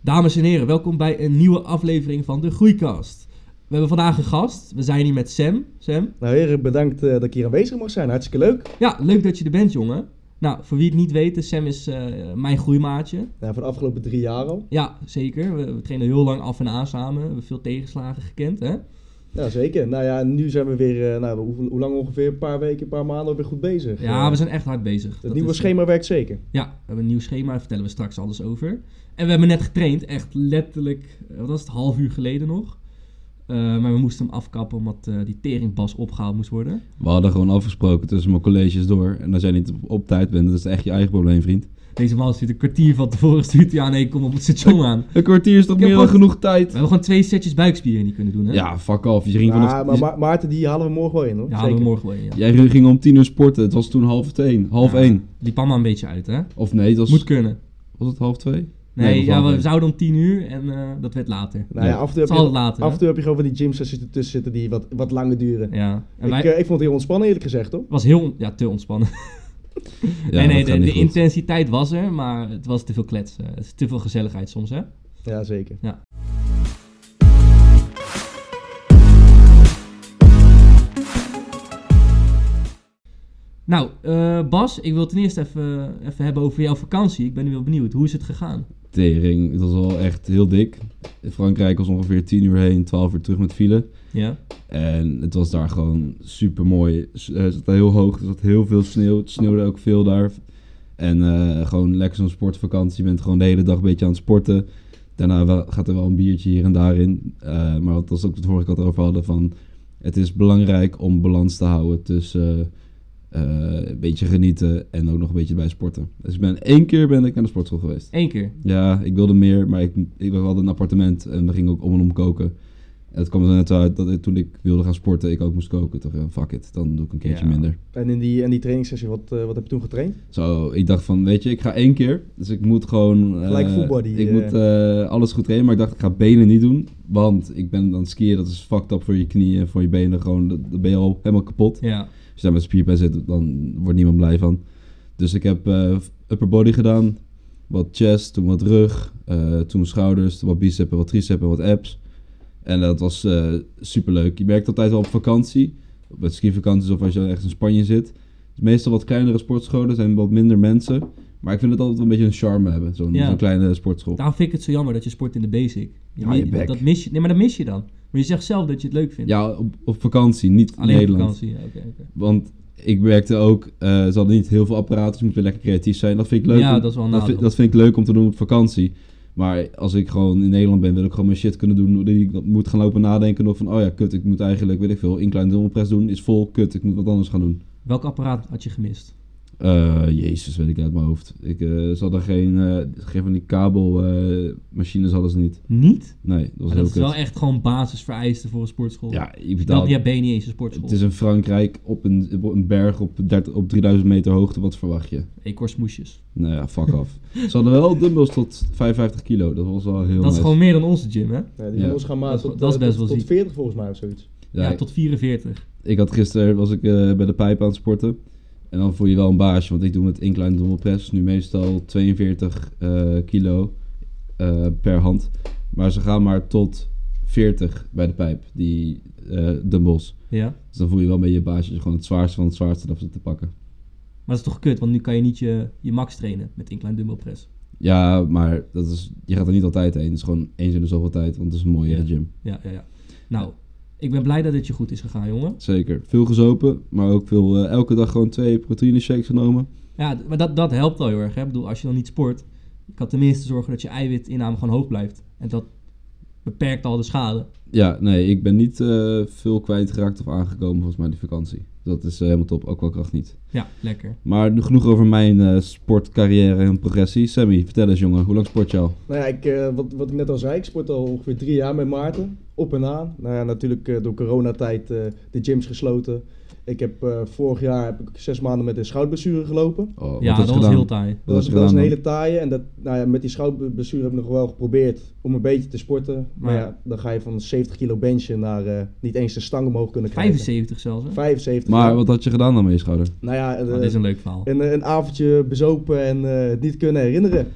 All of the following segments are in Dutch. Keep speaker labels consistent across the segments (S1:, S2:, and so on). S1: Dames en heren, welkom bij een nieuwe aflevering van de Groeikast. We hebben vandaag een gast. We zijn hier met Sam. Sam,
S2: Nou heren, bedankt eh, dat ik hier aanwezig mag zijn. Hartstikke leuk.
S1: ja, leuk dat je er bent, jongen. Nou, voor wie het niet weet, Sam is eh, mijn groeimaatje.
S2: Ja, Nou, voor de afgelopen drie jaar al.
S1: Ja, zeker. We, we trainen heel lang af en aan samen. We hebben veel tegenslagen gekend, hè?
S2: Ja, zeker. Nou ja, nu zijn we weer, eh, nou, hoe, hoe lang ongeveer? Een paar weken, een paar maanden alweer goed bezig.
S1: Ja,
S2: Eh,
S1: we zijn echt hard bezig.
S2: Het
S1: Dat
S2: nieuwe
S1: is-
S2: schema werkt zeker.
S1: Ja, we hebben een nieuw schema. Daar vertellen we straks alles over. En we hebben net getraind. Echt letterlijk, eh, wat was het, half uur geleden nog. Eh, maar we moesten hem afkappen omdat eh, die teringbas opgehaald moest worden.
S3: We hadden gewoon afgesproken tussen mijn colleges door. En als jij niet op, op tijd bent, dat is echt je eigen probleem, vriend.
S1: Deze man stuurt een kwartier van tevoren stuurt hij aan, nee, kom op het station aan. We
S3: Een kwartier is toch
S1: Ik heb
S3: meer dan
S1: gewoon-
S3: genoeg tijd?
S1: hebben gewoon twee setjes buikspieren niet kunnen doen, hè?
S3: Ja, fuck off. Je ging
S2: Ja,
S3: vanaf,
S2: maar Ma- Maarten, die halen we morgen wel in hoor.
S1: Ja, hadden
S2: zeker.
S1: we morgen wel in, ja.
S3: Jij ging om tien uur sporten. Het was toen half twee. Half
S1: Ja,
S3: één.
S1: Liep allemaal een beetje uit, hè?
S3: Of nee, het was,
S1: Moet kunnen.
S3: was het half twee?
S1: Nee,
S3: het was
S1: ja,
S3: half
S1: we
S3: één.
S1: zouden om tien uur en eh, dat werd later.
S2: Nou ja, af en toe
S1: Dat
S2: heb
S1: is altijd
S2: je,
S1: later,
S2: af en
S1: hè?
S2: toe heb je gewoon van die gymsessies ertussen zitten die wat, wat langer duren.
S1: Ja. En wij...
S2: ik, eh, ik vond het heel ontspannen eerlijk gezegd hoor.
S1: was heel on- ja, te ontspannen.
S3: Ja,
S1: nee, nee,
S3: dat gaat
S1: de,
S3: niet
S1: de
S3: goed.
S1: intensiteit was er, maar het was te veel kletsen. Het is te veel gezelligheid soms, hè?
S2: Ja, zeker.
S1: Nou, eh, Bas, ik wil het ten eerste even, even hebben over jouw vakantie. Ik ben nu wel benieuwd. Hoe is het gegaan?
S3: Tering. Het was wel echt heel dik. In Frankrijk was ongeveer tien uur heen, twaalf uur terug met file.
S1: Ja?
S3: En het was daar gewoon super mooi. Het zat heel hoog, er zat heel veel sneeuw. Het sneeuwde ook veel daar. En eh, gewoon lekker zo'n sportvakantie. Je bent gewoon de hele dag een beetje aan het sporten. Daarna wel- gaat er wel een biertje hier en daar in. Eh, maar dat is ook wat we vorige keer over hadden. Van, het is belangrijk om balans te houden tussen eh, eh, een beetje genieten en ook nog een beetje bij sporten. Dus ik ben één keer ben ik naar de sportschool geweest.
S1: Eén keer.
S3: Ja, ik wilde meer, maar ik, ik had een appartement en we gingen ook om en om koken. En het kwam er net zo uit dat ik- toen ik wilde gaan sporten, ik ook moest koken. Toch, eh, fuck it, dan doe ik een keertje
S1: Ja.
S3: minder.
S2: En in die, en die trainingssessie, wat, eh, wat heb je toen getraind?
S3: Zo, ik dacht van, weet je, ik ga één keer. Dus ik moet gewoon... eh,
S2: Gelijk full body,
S3: Ik
S2: eh.
S3: moet eh, alles goed trainen, maar ik dacht, ik ga benen niet doen. Want ik ben aan het skiën, dat is fucked up voor je knieën en voor je benen. Gewoon, dat- dan ben je al helemaal kapot.
S1: Ja.
S3: Als je daar met spierpijn zit, dan wordt niemand blij van. Dus ik heb eh, upper body gedaan, wat chest, toen wat rug, eh, toen schouders, toen wat biceps, en wat triceps, en wat abs. En dat was eh super leuk. Je merkt altijd wel op vakantie, met skivakanties of als je echt in Spanje zit. Dus meestal wat kleinere sportscholen zijn wat minder mensen. Maar ik vind het altijd wel een beetje een charme hebben, zo'n
S1: Ja.
S3: zo'n kleine sportschool.
S1: Daarom vind ik het zo jammer dat je sport in de basic. Je
S3: Hou je
S1: mi-
S3: bek.
S1: dat mis je. Nee, maar dat mis je dan. Maar je zegt zelf dat je het leuk vindt.
S3: Ja, op, op vakantie, niet in
S1: Alleen op
S3: Nederland.
S1: vakantie. Ja, oké, oké.
S3: Want ik werkte ook, eh, ze hadden niet heel veel apparaten, dus je moet weer lekker creatief zijn. Dat vind ik leuk.
S1: Ja,
S3: om-
S1: dat is wel een
S3: vind,
S1: nadeel.
S3: dat vind ik leuk om te doen op vakantie. Maar als ik gewoon in Nederland ben, wil ik gewoon mijn shit kunnen doen. Dat ik moet gaan lopen nadenken nog van, oh ja, kut, ik moet eigenlijk, weet ik veel, incline dumbbell press doen. Is vol, kut, ik moet wat anders gaan doen.
S1: Welk apparaat had je gemist?
S3: Eh, jezus, weet ik uit mijn hoofd. Ik, eh, ze hadden geen, eh geen van die kabelmachines hadden ze niet.
S1: Niet?
S3: Nee, dat was
S1: Maar
S3: heel
S1: dat is
S3: kut.
S1: wel echt gewoon basisvereisten voor een sportschool.
S3: Ja, ik
S1: Dat,
S3: betaal.
S1: ja, ben je niet eens een sportschool.
S3: Het is in Frankrijk op een, op een berg op, 30, op 3000 meter hoogte, wat verwacht je?
S1: Ik hoor smoesjes.
S3: Nou ja, fuck af. Ze hadden wel dumbbells tot 55 kilo. Dat was wel heel
S1: Dat is
S3: nice.
S1: gewoon meer dan onze gym, hè?
S2: Ja, die
S3: Ja.
S2: van ons gaan maar
S1: Dat-
S2: tot,
S1: dat is
S2: eh,
S1: best
S2: tot,
S1: wel
S2: tot
S1: ziek.
S2: 40 volgens mij of zoiets.
S1: Ja,
S3: Ja,
S1: tot 44.
S3: Ik had gisteren, was ik eh, bij de pijp aan het sporten. En dan voel je wel een baasje, want ik doe met incline dumbbell press nu meestal 42 eh, kilo eh, per hand. Maar ze gaan maar tot 40 bij de pijp, die eh dumbbells.
S1: Ja.
S3: Dus dan voel je wel bij je baasje dat je gewoon het zwaarste van het zwaarste eraf zit te pakken.
S1: Maar dat is toch kut, want nu kan je niet je, je max trainen met incline dumbbell press.
S3: Ja, maar dat is, je gaat er niet altijd heen. Het is gewoon eens in de zoveel tijd, want het is een mooie
S1: Ja.
S3: gym.
S1: Ja, ja, ja. Nou, ik ben blij dat het je goed is gegaan, jongen.
S3: Zeker. Veel gezopen, maar ook veel, eh, elke dag gewoon twee proteïne shakes genomen.
S1: Ja, d- maar dat, dat helpt al heel erg, hè? Ik bedoel, als je dan niet sport, je kan tenminste zorgen dat je eiwitinname gewoon hoog blijft. En dat beperkt al de schade.
S3: Ja, nee, ik ben niet eh, veel kwijtgeraakt of aangekomen volgens mij die vakantie. Dat is eh, helemaal top, ook wel kracht niet.
S1: Ja, lekker.
S3: Maar nu genoeg over mijn eh, sportcarrière en progressie. Sammy, vertel eens jongen, hoe lang sport je al?
S2: Nou ja, ik, eh, wat, wat ik net al zei, ik sport al ongeveer drie jaar met Maarten. Op en aan. Nou ja, natuurlijk eh, door coronatijd eh, de gyms gesloten. Ik heb eh, vorig jaar heb ik zes maanden met een schouderblessure gelopen.
S3: Oh, wat
S1: ja,
S3: heb je
S1: dat was
S3: gedaan?
S1: heel taai.
S2: Dat
S3: heb
S2: was,
S3: je
S2: dat was een
S3: gedaan
S2: hele taaie. En dat, nou ja, met die schouderblessure heb ik nog wel geprobeerd om een beetje te sporten. Maar
S1: Ja.
S2: ja, dan ga je van 70 kilo benchen naar eh, niet eens de stang omhoog kunnen krijgen.
S1: 75 zelfs, hè?
S2: 75.
S3: dan? Maar
S2: ja.
S3: wat had je gedaan dan met je schouder?
S2: Nou ja, eh,
S1: Oh, dit is een leuk verhaal.
S2: een, een avondje bezopen en eh, het niet kunnen herinneren.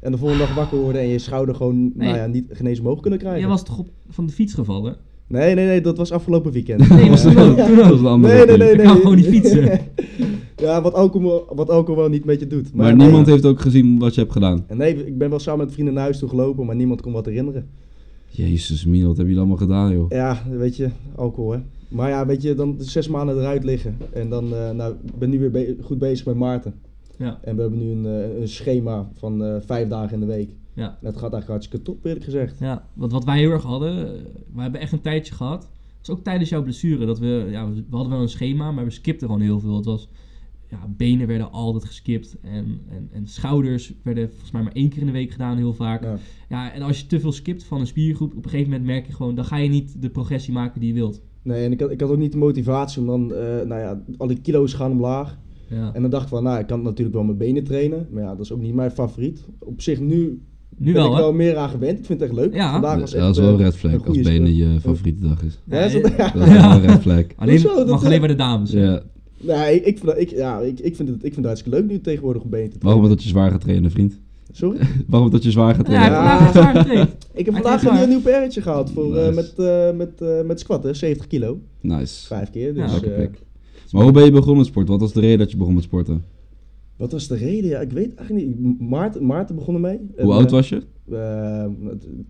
S2: En de volgende dag wakker worden en je schouder gewoon
S1: Nee.
S2: nou ja, niet, geen eens omhoog kunnen krijgen.
S1: Jij was toch op, van de fiets gevallen?
S2: Nee, nee, nee, dat was afgelopen weekend.
S1: Nee, was
S2: Eh,
S1: toen ook. Toen
S3: Dat was
S1: ook.
S3: een andere
S2: nee, nee,
S3: keer.
S2: nee,
S1: Ik
S2: nee.
S1: kan gewoon niet fietsen.
S2: ja, wat alcohol, wat alcohol niet met je doet.
S3: Maar
S2: nee.
S3: niemand heeft ook gezien wat je hebt gedaan.
S2: En nee, ik ben wel samen met vrienden naar huis toe gelopen, maar niemand kon wat herinneren.
S3: Jezus, Mien, wat heb je allemaal gedaan, joh?
S2: Ja, weet je, alcohol hè. Maar ja, weet je, dan zes maanden eruit liggen. En dan, eh, nou, ik ben nu weer be- goed bezig met Maarten.
S1: Ja.
S2: En we hebben nu een, eh, een schema van eh, vijf dagen in de week.
S1: Ja.
S2: En dat gaat eigenlijk hartstikke top, eerlijk gezegd.
S1: Ja, want wat wij heel erg hadden, eh, we hebben echt een tijdje gehad. Dat was ook tijdens jouw blessure. Dat we, ja, we we hadden wel een schema, maar we skipten gewoon heel veel. Het was, ja, benen werden altijd geskipt. En, en, en schouders werden volgens mij maar één keer in de week gedaan, heel vaak. Ja.
S2: Ja.
S1: en als je te veel skipt van een spiergroep, op een gegeven moment merk je gewoon, dan ga je niet de progressie maken die je wilt.
S2: Nee, en ik had, ik had ook niet de motivatie om dan, eh nou ja, al die kilo's gaan omlaag.
S1: Ja.
S2: En dan dacht ik van, nou, ik kan natuurlijk wel mijn benen trainen. Maar ja, dat is ook niet mijn favoriet. Op zich nu
S1: Nu
S2: ben
S1: wel,
S2: ik
S1: hè?
S2: wel meer aan gewend. Ik vind het echt leuk.
S1: Ja.
S2: Vandaag
S3: Dat
S2: was echt,
S3: is wel een
S2: eh,
S3: red flag als
S2: goede
S3: benen
S2: sprint.
S3: je favoriete dag is.
S2: Hè, is
S1: Nee,
S2: dat-
S3: Dat is wel een red flag.
S1: Alleen,
S2: Hoezo? Dat,
S1: mag
S2: eh,
S1: alleen bij de dames. hè?
S3: Ja.
S2: Nee, ik, ik, vind dat- ik, ja, ik, ik, vind het, ik vind het hartstikke leuk nu tegenwoordig om benen te
S3: Waarom
S2: trainen.
S3: dat je zwaar gaat trainen, vriend?
S2: Sorry?
S3: Waarom dat je zwaar gaat
S1: Ja, hij
S3: trainen?
S1: heeft vandaag echt zwaar getraind.
S2: Ik heb
S1: Hij
S2: vandaag
S1: traint
S2: een
S1: hard.
S2: nieuw perretje gehaald voor, eh,
S3: Nice.
S2: met, eh, met, eh, met squatten, 70 kilo.
S3: Nice.
S2: Vijf keer, dus...
S3: Lekker
S2: eh,
S3: pik. Maar hoe ben je begonnen met sporten? Wat was de reden dat je begon met sporten?
S2: wat was de reden? Ja, ik weet eigenlijk niet. Maarten, Maarten begon ermee.
S1: Eh,
S2: eh,
S3: Hoe oud was je?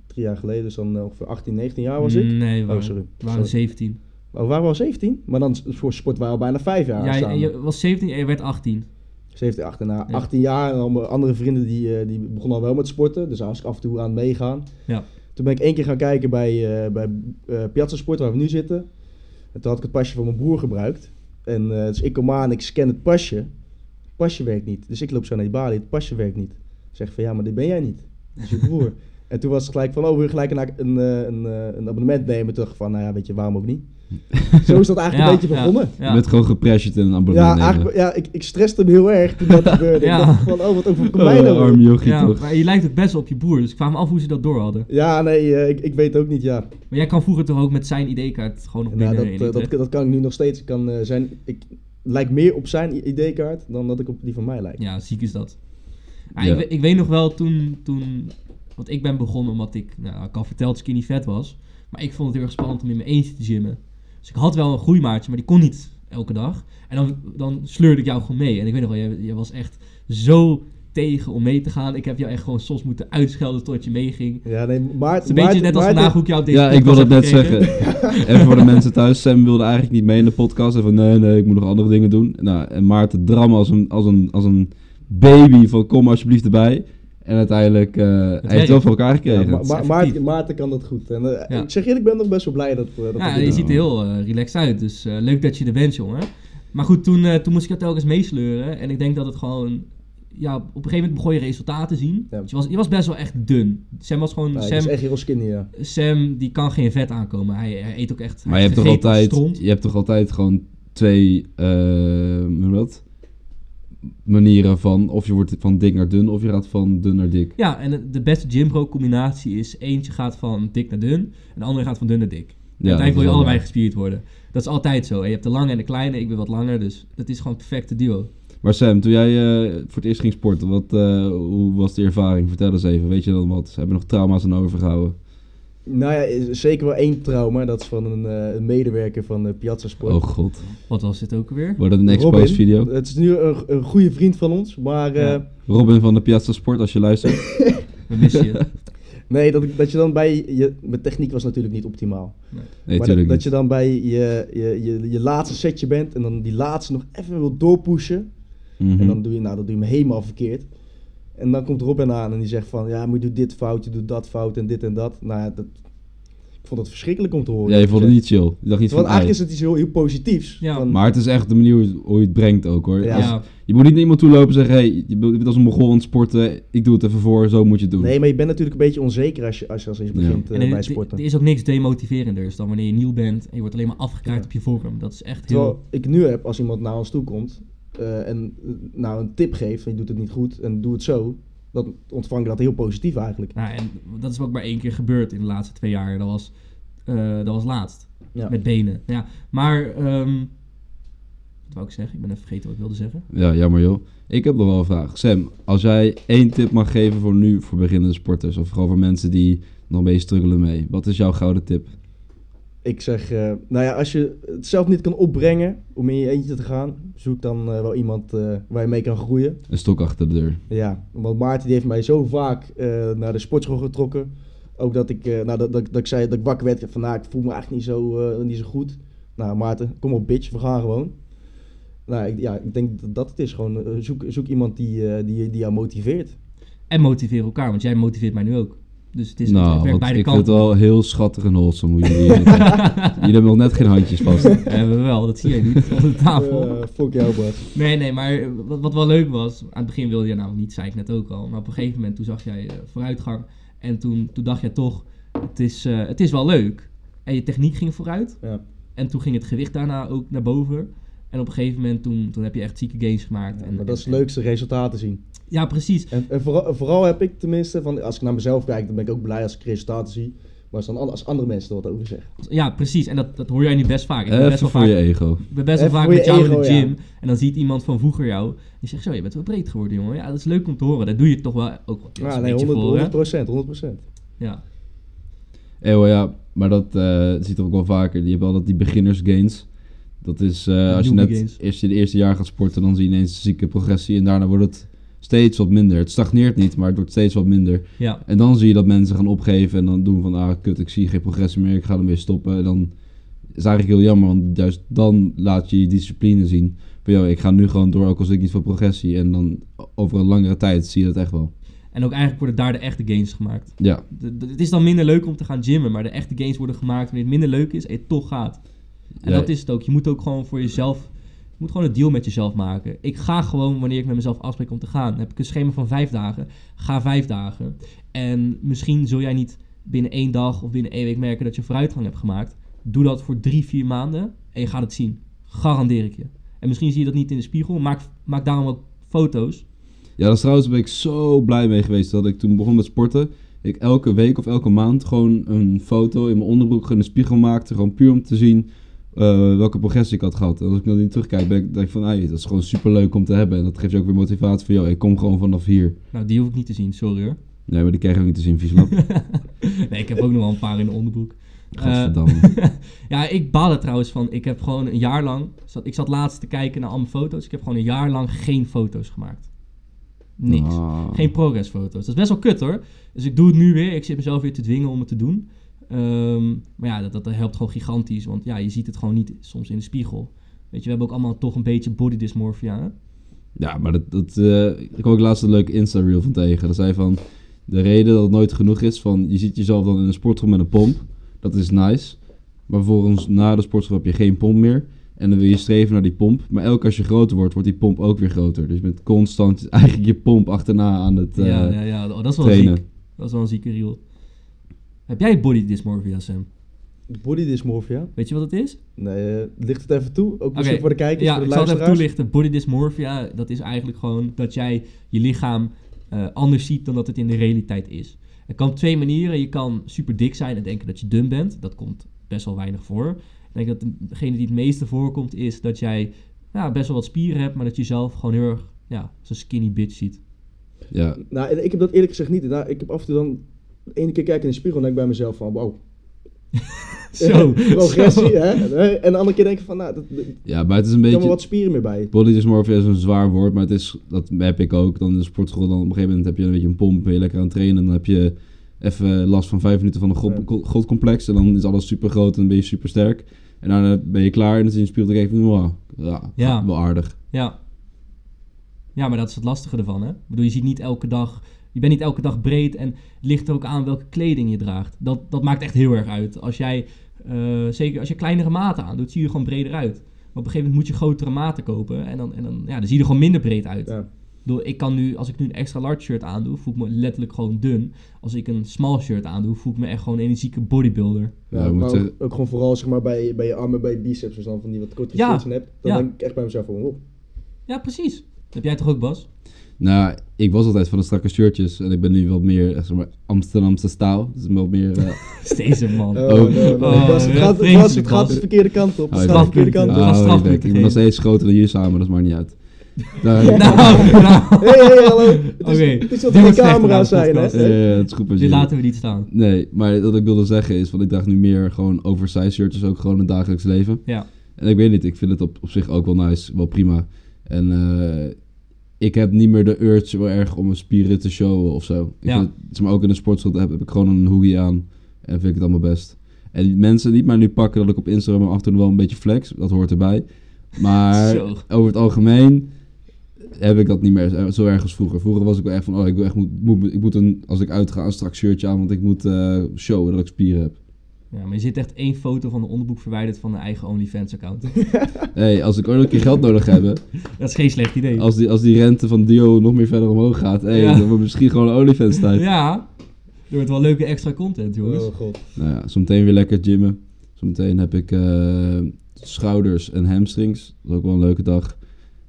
S2: drie jaar geleden, dus dan eh, ongeveer 18, 19 jaar was ik.
S1: Nee, we
S2: Oh,
S1: waren,
S2: sorry.
S1: we waren
S2: Sorry.
S1: 17.
S2: Oh, we waren al 17, maar dan s- voor sport waren we al bijna 5 jaar
S1: Jij
S2: samen.
S1: je was 17 en je werd 18.
S2: 17, 18, na
S1: Ja.
S2: 18 jaar en al mijn andere vrienden die, eh, die begonnen al wel met sporten. Dus daar was ik af en toe aan meegaan.
S1: Ja.
S2: Toen ben ik één keer gaan kijken bij, eh, bij eh, Piazza Sport, waar we nu zitten. En toen had ik het pasje van mijn broer gebruikt. En eh, dus ik kom aan, ik scan het pasje. Het pasje werkt niet. Dus ik loop zo naar die balie, het pasje werkt niet. Ik zeg van ja, maar dit ben jij niet. Dat is je broer. en toen was het gelijk van, oh, wil je gelijk een, een, eh, een, eh, een abonnement nemen? Toen dacht ik van, nou ja, weet je, waarom ook niet? zo is dat eigenlijk
S1: Ja,
S2: een beetje
S1: ja,
S2: begonnen.
S1: ja.
S3: Je bent gewoon gepressured in een
S2: Ja,
S3: abonnement nemen.
S2: eigenlijk, ja ik, ik stresste hem heel erg toen dat gebeurde.
S1: Ja.
S2: Ik dacht van, oh, wat overkomt mij
S3: Oh,
S2: nou?
S3: arm jochie
S1: Ja,
S3: toch?
S1: maar je lijkt ook best wel op je broer, dus ik kwam me af hoe ze dat door hadden.
S2: Ja, nee, eh, ik, ik weet ook niet, ja.
S1: Maar jij kan vroeger toch ook met zijn ID-kaart gewoon nog
S2: Nou,
S1: binnen
S2: dat,
S1: in
S2: eh, dat,
S1: Utrecht?
S2: dat kan ik nu nog steeds. Ik, kan, eh, zijn, ik lijk meer op zijn ID-kaart dan dat ik op die van mij lijk.
S1: Ja, ziek is dat. Ja,
S3: Ja.
S1: Ik, we- ik weet nog wel toen, toen... Want ik ben begonnen omdat ik, nou, ik al verteld, skinny vet was. Maar ik vond het heel erg spannend om in mijn eentje te gymmen. Dus ik had wel een groeimaatje, maar die kon niet elke dag. En dan, dan sleurde ik jou gewoon mee. En ik weet nog wel, jij, jij was echt zo tegen om mee te gaan. Ik heb jou echt gewoon soms moeten uitschelden tot je meeging.
S2: Ja, nee, Maarten...
S1: Het is een beetje net als vandaag hoe ik jou op deze
S3: Ja, ik wil
S1: podcast heb
S3: dat net
S1: gekregen.
S3: zeggen. Even voor de mensen thuis. Sam wilde eigenlijk niet mee in de podcast. En van nee, nee, ik moet nog andere dingen doen. Nou, en Maarten dram als een, als een, als een baby van kom alsjeblieft erbij. En uiteindelijk, eh, hij heeft
S1: werkt.
S3: het wel voor elkaar gekregen.
S2: maar,
S1: effectief.
S2: Maarten, Maarten kan dat goed. En, eh,
S1: Ja.
S2: Ik zeg eerlijk, ik ben nog best wel blij dat... eh, dat
S1: Ja,
S2: ik dit
S1: je
S2: doe.
S1: ziet er heel eh, relaxed uit. Dus eh, leuk dat je er bent, jongen. Maar goed, toen, eh, toen moest ik dat telkens meesleuren. En ik denk dat het gewoon... Ja, op een gegeven moment begon je resultaten te zien.
S2: Ja.
S1: Dus je, was, je was best wel echt dun. Sam was gewoon...
S2: Ja, ik
S1: Sam,
S2: is echt heel skinny, ja.
S1: Sam, die kan geen vet aankomen. Hij, hij eet ook echt...
S3: Maar
S1: hij
S3: je hebt, toch
S1: gegeten als
S3: altijd,
S1: stront.
S3: je hebt toch altijd gewoon twee eh, hoe noem je dat? manieren van of je wordt van dik naar dun of je gaat van dun naar dik.
S1: Ja, en de beste gymbro combinatie is... Eentje gaat van dik naar dun. En de andere gaat van dun naar dik.
S3: Ja,
S1: Ja,
S3: dat is
S1: Uiteindelijk wil je
S3: wel
S1: allebei
S3: waar.
S1: gespierd worden. Dat is altijd zo. En je hebt de lange en de kleine. Ik ben wat langer. Dus dat is gewoon het perfecte duo.
S3: Maar Sam, toen jij eh, voor het eerst ging sporten, wat, eh, hoe was de ervaring? Vertel eens even, weet je dan wat? Hebben nog trauma's aan overgehouden?
S2: Nou ja, is zeker wel één trauma. Dat is van een, eh, een medewerker van eh, Piazza Sport.
S3: Oh god,
S1: Wat was dit ook weer?
S3: wordt dat een
S2: Robin.
S3: expose video?
S2: Het is nu een, een goede vriend van ons, maar... eh,
S1: Ja.
S3: Robin van de Piazza Sport, als je luistert.
S1: We missen je.
S2: Nee, dat, ik- dat je dan bij je... Mijn techniek was natuurlijk niet optimaal.
S3: Nee,
S2: maar dat,
S3: tuurlijk
S2: dat
S3: niet.
S2: je dan bij je, je, je, je laatste setje bent en dan die laatste nog even wil doorpushen.
S3: Mhm.
S2: En dan doe je, nou, dat doe je hem helemaal verkeerd. En dan komt Robin aan en die zegt van, ja, maar je doet dit fout, je doet dat fout en dit en dat. Nou ja, dat, ik vond dat verschrikkelijk om te horen.
S3: Ja, je vond het
S2: eerlijk
S3: niet chill. Je dacht niet
S2: gezegd. Want
S3: van,
S2: eigenlijk is
S3: ai.
S2: het iets heel, heel positiefs.
S1: Ja.
S2: Van,
S3: Maar het is echt de manier hoe je het- hoe je het brengt ook hoor.
S2: Ja.
S3: Als-
S1: Ja.
S3: Je moet niet naar iemand toe lopen en zeggen, hey, je bent je bent als een mogol aan het sporten, ik doe het even voor, zo moet je het doen.
S2: nee, maar je bent natuurlijk een beetje onzeker als je als, je als eens
S3: Ja.
S2: begint eh,
S1: En er-
S2: bij
S1: er-
S2: sporten.
S1: Er is ook niks demotiverenders dan wanneer je nieuw bent en je wordt alleen maar afgekraakt
S2: Ja.
S1: op je vorm. Dat is echt heel...
S2: Terwijl ik nu heb, als iemand naar ons toe komt eh, en eh, nou een tip geeft, en je doet het niet goed en doe het zo, dan ontvang je dat heel positief eigenlijk.
S1: Nou, en dat is ook maar één keer gebeurd in de laatste twee jaar. Dat was, eh, dat was laatst.
S2: Ja.
S1: Met benen. Ja. Maar ehm, Wat wou ik zeggen? Ik ben even vergeten wat ik wilde zeggen.
S3: Ja, jammer joh. Ik heb nog wel een vraag. Sam, als jij één tip mag geven voor nu, voor beginnende sporters, of gewoon voor mensen die nog een beetje struggelen mee, wat is jouw gouden tip?
S2: Ik zeg, eh, nou ja, als je het zelf niet kan opbrengen om in je eentje te gaan, zoek dan eh, wel iemand eh, waar je mee kan groeien.
S3: Een stok achter de deur.
S2: Ja, want Maarten die heeft mij zo vaak eh, naar de sportschool getrokken. Ook dat ik, eh, nou, dat, dat, dat ik zei dat ik wakker werd van, nou, ik voel me eigenlijk niet zo, eh, niet zo goed. Nou, Maarten, kom op bitch, we gaan gewoon. Nou, ik, ja, ik denk dat dat het is. Gewoon eh, zoek, zoek iemand die, eh, die, die jou motiveert.
S1: En motiveren elkaar, want jij motiveert mij nu ook. Dus het is het
S3: nou,
S1: werkt
S3: want
S1: beide
S3: ik vind het
S1: kanten.
S3: wel heel schattig en wholesome hoe jullie het hebben. Jullie hebben nog net geen handjes vast.
S1: Hebben we wel, dat zie je niet op de tafel.
S2: Eh, fuck jou, Bas.
S1: Nee, nee, maar wat, wat wel leuk was, aan het begin wilde je namelijk niet, zei ik net ook al. Maar op een gegeven moment toen zag jij eh, vooruitgang en toen, toen dacht jij toch, het is, eh, het is wel leuk. En je techniek ging vooruit
S2: Ja.
S1: en toen ging het gewicht daarna ook naar boven. En op een gegeven moment toen, toen heb je echt zieke gains gemaakt.
S2: Ja,
S1: en,
S2: maar dat is
S1: en-
S2: het leukste resultaten zien.
S1: Ja, precies.
S2: En, en vooral, vooral heb ik tenminste, van, als ik naar mezelf kijk, dan ben ik ook blij als ik resultaten zie. Maar als, dan, an- als andere mensen er wat over zeggen.
S1: Ja, precies. En dat, dat hoor jij nu best vaak. Ik ben best
S3: Even
S1: wel
S3: voor
S1: vaak,
S3: je ego.
S1: ik ben best wel
S2: Even
S1: vaak
S2: voor je
S1: met jou in
S2: ego,
S1: de
S2: ja.
S1: gym. En dan ziet iemand van vroeger jou. Die zegt, zo, je bent wel breed geworden, jongen. Ja, dat is leuk om te horen. Dat doe je toch wel ook wel
S2: Ja,
S1: een
S2: nee,
S1: beetje
S2: 100,
S1: voor, hè?
S2: 100%, 100%.
S1: Ja.
S3: Eeuw, Eh, ja, maar dat eh, ziet er ook wel vaker. Je hebt altijd die beginners gains. Dat is eh, als je
S1: newbie
S3: net
S1: gains.
S3: eerst je de eerste jaar gaat sporten, dan zie je ineens zieke progressie. En daarna wordt het steeds wat minder. Het stagneert niet, maar het wordt steeds wat minder.
S1: ja.
S3: En dan zie je dat mensen gaan opgeven en dan doen van, ah kut, ik zie geen progressie meer, ik ga ermee stoppen. En dan is eigenlijk heel jammer, want juist dan laat je je discipline zien. Van, joh, ik ga nu gewoon door, ook als ik niet voor progressie. En dan over een langere tijd zie je dat echt wel.
S1: En ook eigenlijk worden daar de echte gains gemaakt.
S3: Ja,
S1: De- de- het is dan minder leuk om te gaan gymmen, maar de echte gains worden gemaakt wanneer het minder leuk is en je toch gaat. En
S3: Ja.
S1: dat is het ook. Je moet ook gewoon voor jezelf, je moet gewoon een deal met jezelf maken. Ik ga gewoon wanneer ik met mezelf afspreek om te gaan. Dan heb ik een schema van vijf dagen, ga vijf dagen. En misschien zul jij niet binnen één dag of binnen één week merken dat je vooruitgang hebt gemaakt. Doe dat voor drie, vier maanden en je gaat het zien. Garandeer ik je. En misschien zie je dat niet in de spiegel. Maak, maak daarom ook foto's.
S3: Ja, dat is trouwens ben ik zo blij mee geweest dat ik toen begon met sporten. Ik elke week of elke maand gewoon een foto in mijn onderbroek in de spiegel maakte. Gewoon puur om te zien eh, welke progressie ik had gehad. En als ik dan niet terugkijk, ben ik, denk ik van, hey, dat is gewoon super leuk om te hebben. En dat geeft je ook weer motivatie van, joh, ik kom gewoon vanaf hier.
S1: Nou, die hoef ik niet te zien, sorry hoor.
S3: Nee, maar die krijg ik ook niet te zien, vies lap.
S1: nee, ik heb ook nog wel een paar in de onderbroek.
S3: Gadverdamme.
S1: Ja, ik baal er trouwens van. Ik heb gewoon een jaar lang... Zat, ik zat laatst te kijken naar al mijn foto's. Ik heb gewoon een jaar lang geen foto's gemaakt. Niks.
S3: Ah.
S1: Geen progressfoto's. Dat is best wel kut hoor. Dus ik doe het nu weer. Ik zit mezelf weer te dwingen om het te doen. Ehm, maar ja, dat, dat helpt gewoon gigantisch. Want ja, je ziet het gewoon niet soms in de spiegel. Weet je, we hebben ook allemaal toch een beetje body dysmorphia. hè?
S3: Eh, Ja, maar dat, dat, eh, ik kwam ook laatst een leuke Insta-reel van tegen. Dat zei van, de reden dat het nooit genoeg is van, je ziet jezelf dan in een sportschool met een pomp. Dat is nice. Maar vervolgens, na de sportschool heb je geen pomp meer. En dan wil je streven naar die pomp. Maar elke als je groter wordt, wordt die pomp ook weer groter. Dus je bent constant eigenlijk je pomp achterna aan het... eh,
S1: ja, ja, ja. Oh, dat is wel
S3: trainen.
S1: ziek. Dat is wel een zieke reel. Heb jij body dysmorphia, Sam?
S2: Body dysmorphia.
S1: Weet je wat het is?
S2: Nee, eh, licht het even toe. Ook misschien
S1: Oké,
S2: voor de kijkers,
S1: ja,
S2: voor de
S1: ik zal het even
S2: luisteraars.
S1: toelichten. Body dysmorphia, dat is eigenlijk gewoon dat jij je lichaam eh, anders ziet dan dat het in de realiteit is. Het kan op twee manieren. Je kan super dik zijn en denken dat je dun bent. Dat komt best wel weinig voor. Ik denk dat degene die het meeste voorkomt is dat jij ja, best wel wat spieren hebt, maar dat je zelf gewoon heel erg ja, zo'n skinny bitch ziet.
S3: ja.
S2: Nou, en ik heb dat eerlijk gezegd niet. Nou, ik heb af en toe dan... De ene keer kijk ik in de spiegel en denk ik bij mezelf van, wauw.
S1: Zo.
S2: Progressie,
S1: zo.
S2: hè? Nee, En de andere keer denk ik van, nou, dat, dat-
S3: ja, maar het is een
S2: er komen
S3: beetje...
S2: wat spieren meer bij.
S3: Body dysmorphia is een zwaar woord, maar het is, dat heb ik ook. Dan in de sportschool, dan op een gegeven moment heb je een beetje een pomp, ben je lekker aan het trainen. Dan heb je even last van vijf minuten van een god,
S2: Ja.
S3: go- godcomplex en dan is alles super groot en dan ben je super sterk. En daarna ben je klaar en dan zie je in de spiegel en denk je van, wow, ja,
S1: Ja.
S3: wel aardig.
S1: Ja. Ja, maar dat is het lastige ervan, hè? Ik bedoel, je ziet niet elke dag... Je bent niet elke dag breed en het ligt er ook aan welke kleding je draagt. Dat, dat maakt echt heel erg uit. Als jij, eh, zeker als je kleinere maten aandoet, zie je er gewoon breder uit. Maar op een gegeven moment moet je grotere maten kopen en dan, en dan, ja, dan zie je er gewoon minder breed uit.
S2: Ja.
S1: Ik bedoel, ik kan nu, als ik nu een extra large shirt aandoe, voel ik me letterlijk gewoon dun. Als ik een small shirt aandoe, voel ik me echt gewoon een energieke bodybuilder.
S3: Ja,
S2: Ja,
S3: ik moet
S2: Nou, maar ook,
S3: zeggen-
S2: ook gewoon vooral zeg maar, bij, bij je armen, bij je biceps, dus dan van die wat kortere
S1: Ja, Oh.
S2: shirts en hebt. Dan
S1: ja.
S2: Oh, denk ik echt bij mezelf van, wow.
S1: Ja, precies. heb jij toch ook, Bas?
S3: Nou, ik was altijd van de strakke shirtjes en ik ben nu wat meer eh, zeg maar, Amsterdamse stijl. Dus wat meer. eh,
S1: Is deze man.
S2: Oh,
S1: Uh,
S2: no,
S3: Oh.
S2: no, no.
S1: Oh,
S2: Bas, het
S1: ja,
S2: gaat,
S1: vreselijk,
S2: Bas, het gaat
S1: Bas.
S2: de verkeerde kant op. Het
S3: Ah,
S2: gaat de verkeerde kant
S1: Ja,
S2: op.
S1: was
S3: oh,
S1: straf
S3: ik, denk, ik ben
S1: moeten
S3: nog steeds groter dan jullie samen, dat maakt niet uit. Nou,
S1: nou, nou.
S2: Hé, hey, hey, hallo. Het is,
S1: Oké,
S2: het is dat
S1: dit
S2: er
S1: wordt slechter
S2: camera's
S1: dan de
S2: zijn, hè? Oh,
S1: podcast.
S3: eh, het is goed
S1: Dit
S3: als jullie.
S1: laten we niet staan.
S3: Nee, maar wat ik wilde zeggen is, want ik draag nu meer gewoon oversized shirtjes ook gewoon in het dagelijks leven.
S1: Ja.
S3: En ik weet niet, ik vind het op, op zich ook wel nice, wel prima. En eh, ik heb niet meer de urge wel erg om mijn spieren te showen of zo. Ik
S1: Ja.
S3: vind het- zeg maar, ook in de sportschool heb, heb ik gewoon een hoodie aan en vind ik het allemaal best. En die mensen niet mij nu pakken dat ik op Instagram af en toe wel een beetje flex, dat hoort erbij. Maar
S1: Zo.
S3: over het algemeen heb ik dat niet meer zo erg als vroeger. Vroeger was ik wel echt van, oh, ik, wil echt moet, moet- ik moet een, als ik uitga, een strak shirtje aan, want ik moet eh, showen dat ik spieren heb.
S1: Ja, maar je zit echt één foto van de onderboek verwijderd van een eigen OnlyFans-account.
S3: hey, als ik ooit een keer geld nodig heb,
S1: Dat is geen slecht idee.
S3: Als die, als die rente van Dio nog meer verder omhoog gaat, hey,
S1: Ja.
S3: dan wordt misschien gewoon OnlyFans tijd.
S1: Ja, er wordt wel leuke extra content, jongens.
S2: Oh, god.
S3: Nou ja, zometeen weer lekker gymmen. Zometeen heb ik eh, schouders en hamstrings. Dat is ook wel een leuke dag.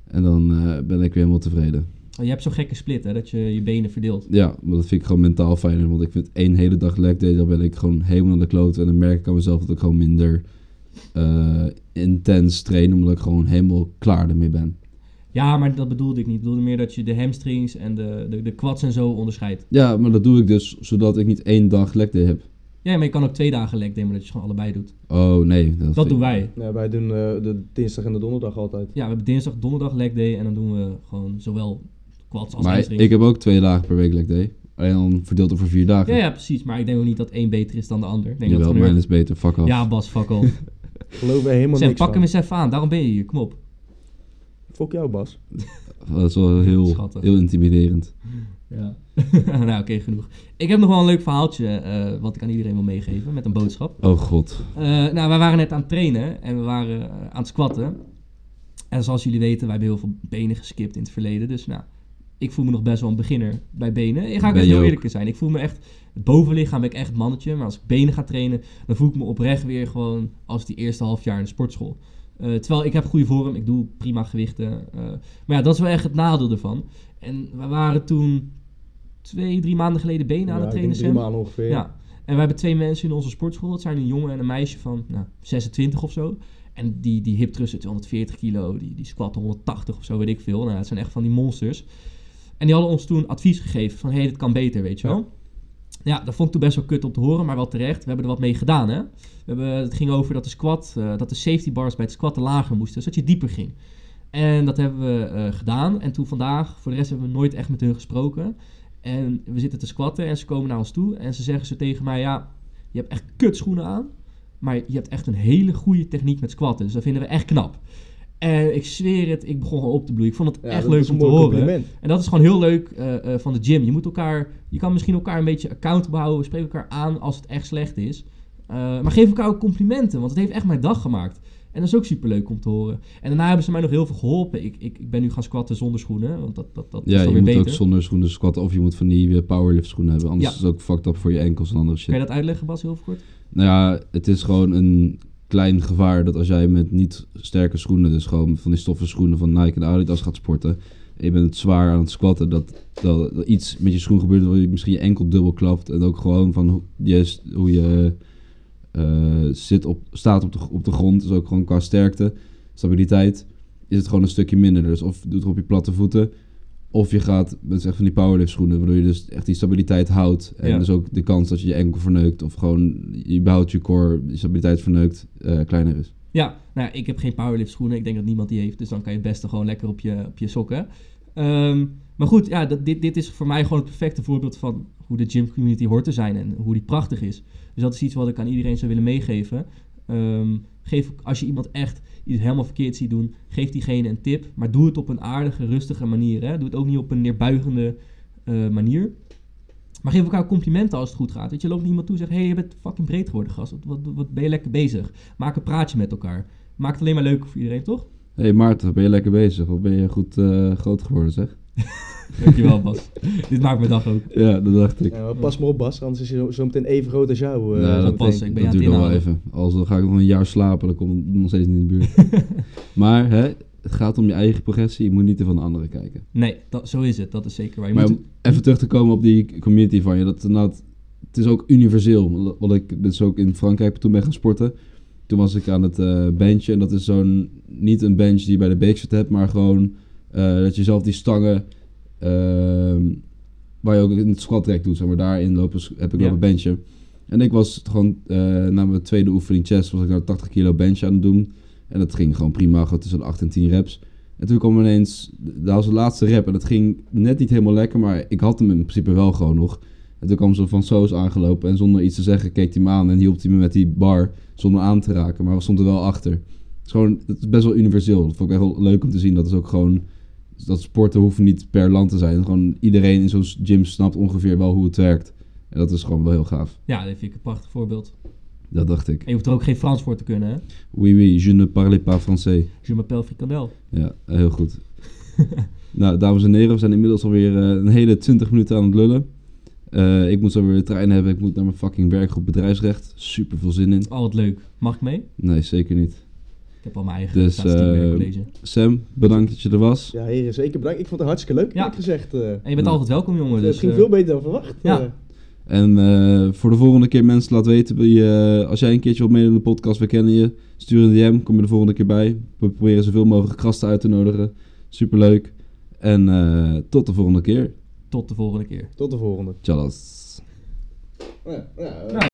S3: En dan eh, ben ik weer helemaal tevreden.
S1: Je hebt zo'n gekke split, hè, dat je je benen verdeelt.
S3: Ja, maar dat vind ik gewoon mentaal fijner. Want ik vind één hele dag leg day, dan ben ik gewoon helemaal aan de kloot. En dan merk ik aan mezelf dat ik gewoon minder eh, intens train. Omdat ik gewoon helemaal klaar ermee ben.
S1: Ja, maar dat bedoelde ik niet. Ik bedoelde meer dat je de hamstrings en de, de, de quads en zo onderscheidt.
S3: Ja, maar dat doe ik dus zodat ik niet één dag leg day heb.
S1: Ja, maar je kan ook twee dagen lek nemen dat je gewoon allebei doet.
S3: Oh nee. Dat,
S1: Dat
S3: vind ik-
S1: doen wij.
S2: Nee, wij doen eh, de dinsdag en de donderdag altijd.
S1: Ja, we hebben dinsdag, donderdag leg day en dan doen we gewoon zowel quads als
S3: Maar
S1: hamstrings.
S3: ik heb ook twee dagen per week leg day. Alleen dan verdeeld over vier dagen.
S1: Ja, ja, precies. Maar ik denk ook niet dat één beter is dan de ander. Ik denk
S3: Jawel,
S1: dat het
S3: mijn
S1: gewoon
S3: is beter. Fuck off.
S1: weer- Ja, Bas, fuck off.
S2: Geloof er helemaal
S1: Sam,
S2: niks
S1: pak
S2: van.
S1: hem eens even aan. Daarom ben je hier. Kom op.
S2: Fok jou, Bas.
S3: Dat is wel heel,
S1: Schattig.
S3: heel intimiderend.
S1: Ja. nou, oké, genoeg. Ik heb nog wel een leuk verhaaltje eh, wat ik aan iedereen wil meegeven met een boodschap.
S3: Oh god.
S1: Eh, nou, wij waren net aan het trainen en we waren eh, aan het squatten. En zoals jullie weten, wij hebben heel veel benen geskipt in het verleden. Dus nou, ik voel me nog best wel een beginner bij benen. Ik ga ook
S3: Ben
S1: echt
S3: je
S1: heel
S3: ook.
S1: eerlijk in zijn. Ik voel me echt, het bovenlichaam ben ik echt mannetje. Maar als ik benen ga trainen, dan voel ik me oprecht weer gewoon als die eerste half jaar in de sportschool. Eh, terwijl ik heb goede vorm, ik doe prima gewichten. eh, maar ja, dat is wel echt het nadeel ervan. En we waren toen twee, drie maanden geleden benen aan
S2: Ja,
S1: het
S2: ik denk
S1: trainen,
S2: drie
S1: Sam.
S2: maanden ongeveer.
S1: Ja. En we hebben twee mensen in onze sportschool. Dat zijn een jongen en een meisje van nou, 26 of zo. En die, die hip thrust zit 240 kilo. Die, die squat 180 of zo, weet ik veel. Nou, dat zijn echt van die monsters. En die hadden ons toen advies gegeven van... Hé, hey, dit kan beter, weet je wel. Ja, dat vond ik toen best wel kut om te horen, maar wel terecht. We hebben er wat mee gedaan, hè. We hebben, het ging over dat de squat... eh, dat de safety bars bij het squatten lager moesten, zodat je dieper ging. En dat hebben we eh, gedaan. En toen vandaag, voor de rest hebben we nooit echt met hun gesproken. En we zitten te squatten en ze komen naar ons toe. En ze zeggen zo tegen mij, ja, je hebt echt kutschoenen aan. Maar je hebt echt een hele goede techniek met squatten. Dus dat vinden we echt knap. En ik zweer het, ik begon gewoon op te bloeien. Ik vond het
S2: Ja,
S1: echt
S2: dat
S1: leuk
S2: is een
S1: om te
S2: mooi
S1: horen.
S2: compliment.
S1: En dat is gewoon heel leuk eh, eh, van de gym. Je moet elkaar, je kan misschien elkaar een beetje account behouden, spreek elkaar aan als het echt slecht is. Eh, maar geef elkaar ook complimenten, want het heeft echt mijn dag gemaakt. En dat is ook super leuk om te horen. En daarna hebben ze mij nog heel veel geholpen. Ik, ik, ik ben nu gaan squatten zonder schoenen, want dat, dat, dat
S3: Ja,
S1: is
S3: je
S1: dan
S3: moet
S1: weer beter.
S3: ook zonder schoenen squatten of je moet van die eh, powerlift schoenen hebben. Anders
S1: Ja.
S3: is het ook fucked up voor je enkels en andere shit.
S1: Kan je dat uitleggen, Bas, heel kort?
S3: Nou ja, het is gewoon een klein gevaar dat als jij met niet sterke schoenen, dus gewoon van die stoffen schoenen van Nike en Adidas gaat sporten, en je bent zwaar aan het squatten, dat, dat, dat iets met je schoen gebeurt waar je misschien je enkel dubbel klapt en ook gewoon van hoe je, s- hoe je eh, zit op, staat op de, op de grond, dus ook gewoon qua sterkte, stabiliteit, is het gewoon een stukje minder. Dus of je doet het op je platte voeten, of je gaat met zeg van die powerlift schoenen, waardoor je dus echt die stabiliteit houdt. En
S1: Ja.
S3: dus ook de kans dat je je enkel verneukt. Of gewoon je behoudt je core, je stabiliteit verneukt, eh, kleiner is.
S1: Ja, nou ja, ik heb geen powerlift schoenen. Ik denk dat niemand die heeft. Dus dan kan je het beste gewoon lekker op je, op je sokken. Ehm, maar goed, ja, dat, dit, dit is voor mij gewoon het perfecte voorbeeld van hoe de gym community hoort te zijn en hoe die prachtig is. Dus dat is iets wat ik aan iedereen zou willen meegeven. Ehm, geef, als je iemand echt iets helemaal verkeerd ziet doen, geef diegene een tip. Maar doe het op een aardige, rustige manier. Hè? Doe het ook niet op een neerbuigende eh, manier. Maar geef elkaar complimenten als het goed gaat. Weet je, loop naar iemand toe en zeg: hey, je bent fucking breed geworden, gast. Wat, wat, wat ben je lekker bezig? Maak een praatje met elkaar. Maak het alleen maar leuk voor iedereen, toch?
S3: Hé hey Maarten, ben je lekker bezig? Wat ben je goed eh, groot geworden, zeg?
S1: Dankjewel, Bas. Dit maakt mijn dag ook.
S3: Ja, dat dacht ik.
S2: Ja, maar pas maar op, Bas, anders is hij zo, zo meteen even groot als jou. eh,
S3: Nou,
S2: zo
S3: dat
S2: meteen.
S1: past, ik ben
S3: dat
S1: aan het
S3: duurt nog wel
S1: inhalen.
S3: even. Als dan ga ik nog een jaar slapen, dan kom ik nog steeds niet in de buurt. maar hè, het gaat om je eigen progressie. Je moet niet er van de anderen kijken.
S1: Nee, dat, zo is het. Dat is zeker waar. Je
S3: maar
S1: moet,
S3: om even terug te komen op die community van je. Dat, nou, het is ook universeel. Wat ik dus ook in Frankrijk toen ben gaan sporten. Toen was ik aan het eh benchen. En dat is zo'n... Niet een bench die je bij de Beekstad hebt. Maar gewoon eh, dat je zelf die stangen... ehm, waar je ook in het squat rack doet. Zeg maar daarin lopen, s- heb ik
S1: Ja.
S3: lopen benchen. En ik was het gewoon... eh, na mijn tweede oefening chest was ik nou 80 kilo bench aan het doen. En dat ging gewoon prima. Gewoon tussen de 8 en 10 reps. En toen kwam ineens, dat was de laatste rap en dat ging net niet helemaal lekker, maar ik had hem in principe wel gewoon nog. En toen kwam ze van Soos aangelopen en zonder iets te zeggen keek hij me aan en hielp hij me met die bar zonder aan te raken, maar we stonden wel achter. Het is gewoon, het is best wel universeel. Dat vond ik echt wel leuk om te zien. Dat is ook gewoon, Dus dat sporten hoeven niet per land te zijn. Gewoon iedereen in zo'n gym snapt ongeveer wel hoe het werkt. En dat is gewoon wel heel gaaf.
S1: ja, dat vind ik een prachtig voorbeeld.
S3: Dat dacht ik.
S1: En je hoeft er ook geen Frans voor te kunnen, hè?
S3: Oui, oui, je ne parle pas français.
S1: Je m'appelle Frikandel.
S3: Ja, heel goed. nou, dames en heren, we zijn inmiddels alweer eh, een hele 20 minuten aan het lullen. Eh, ik moet zo weer de trein hebben. Ik moet naar mijn fucking werkgroep bedrijfsrecht. Super veel zin in.
S1: Oh, wat leuk. Mag ik mee?
S3: Nee, zeker niet.
S1: Ik heb al mijn eigen
S3: Dus,
S1: statistiek bij het
S3: eh,
S1: college.
S3: Sam, bedankt dat je er was.
S2: Ja, heren, zeker bedankt. Ik vond het hartstikke leuk,
S1: Ja.
S2: eerlijk gezegd. eh.
S1: En je bent
S3: nou.
S1: altijd welkom, jongen. Dus,
S2: het ging
S1: eh,
S2: veel beter dan verwacht.
S1: ja.
S2: eh.
S3: En eh, voor de volgende keer, mensen, laat weten. wil je, eh, als jij een keertje wilt meedoen in de podcast, we kennen je. Stuur een DM, kom je de volgende keer bij. We proberen zoveel mogelijk gasten uit te nodigen. Superleuk. En eh, tot de volgende keer.
S1: Tot de volgende keer.
S2: tot de volgende.
S3: Tjallas.
S2: Ja, ja, eh.
S1: Nou,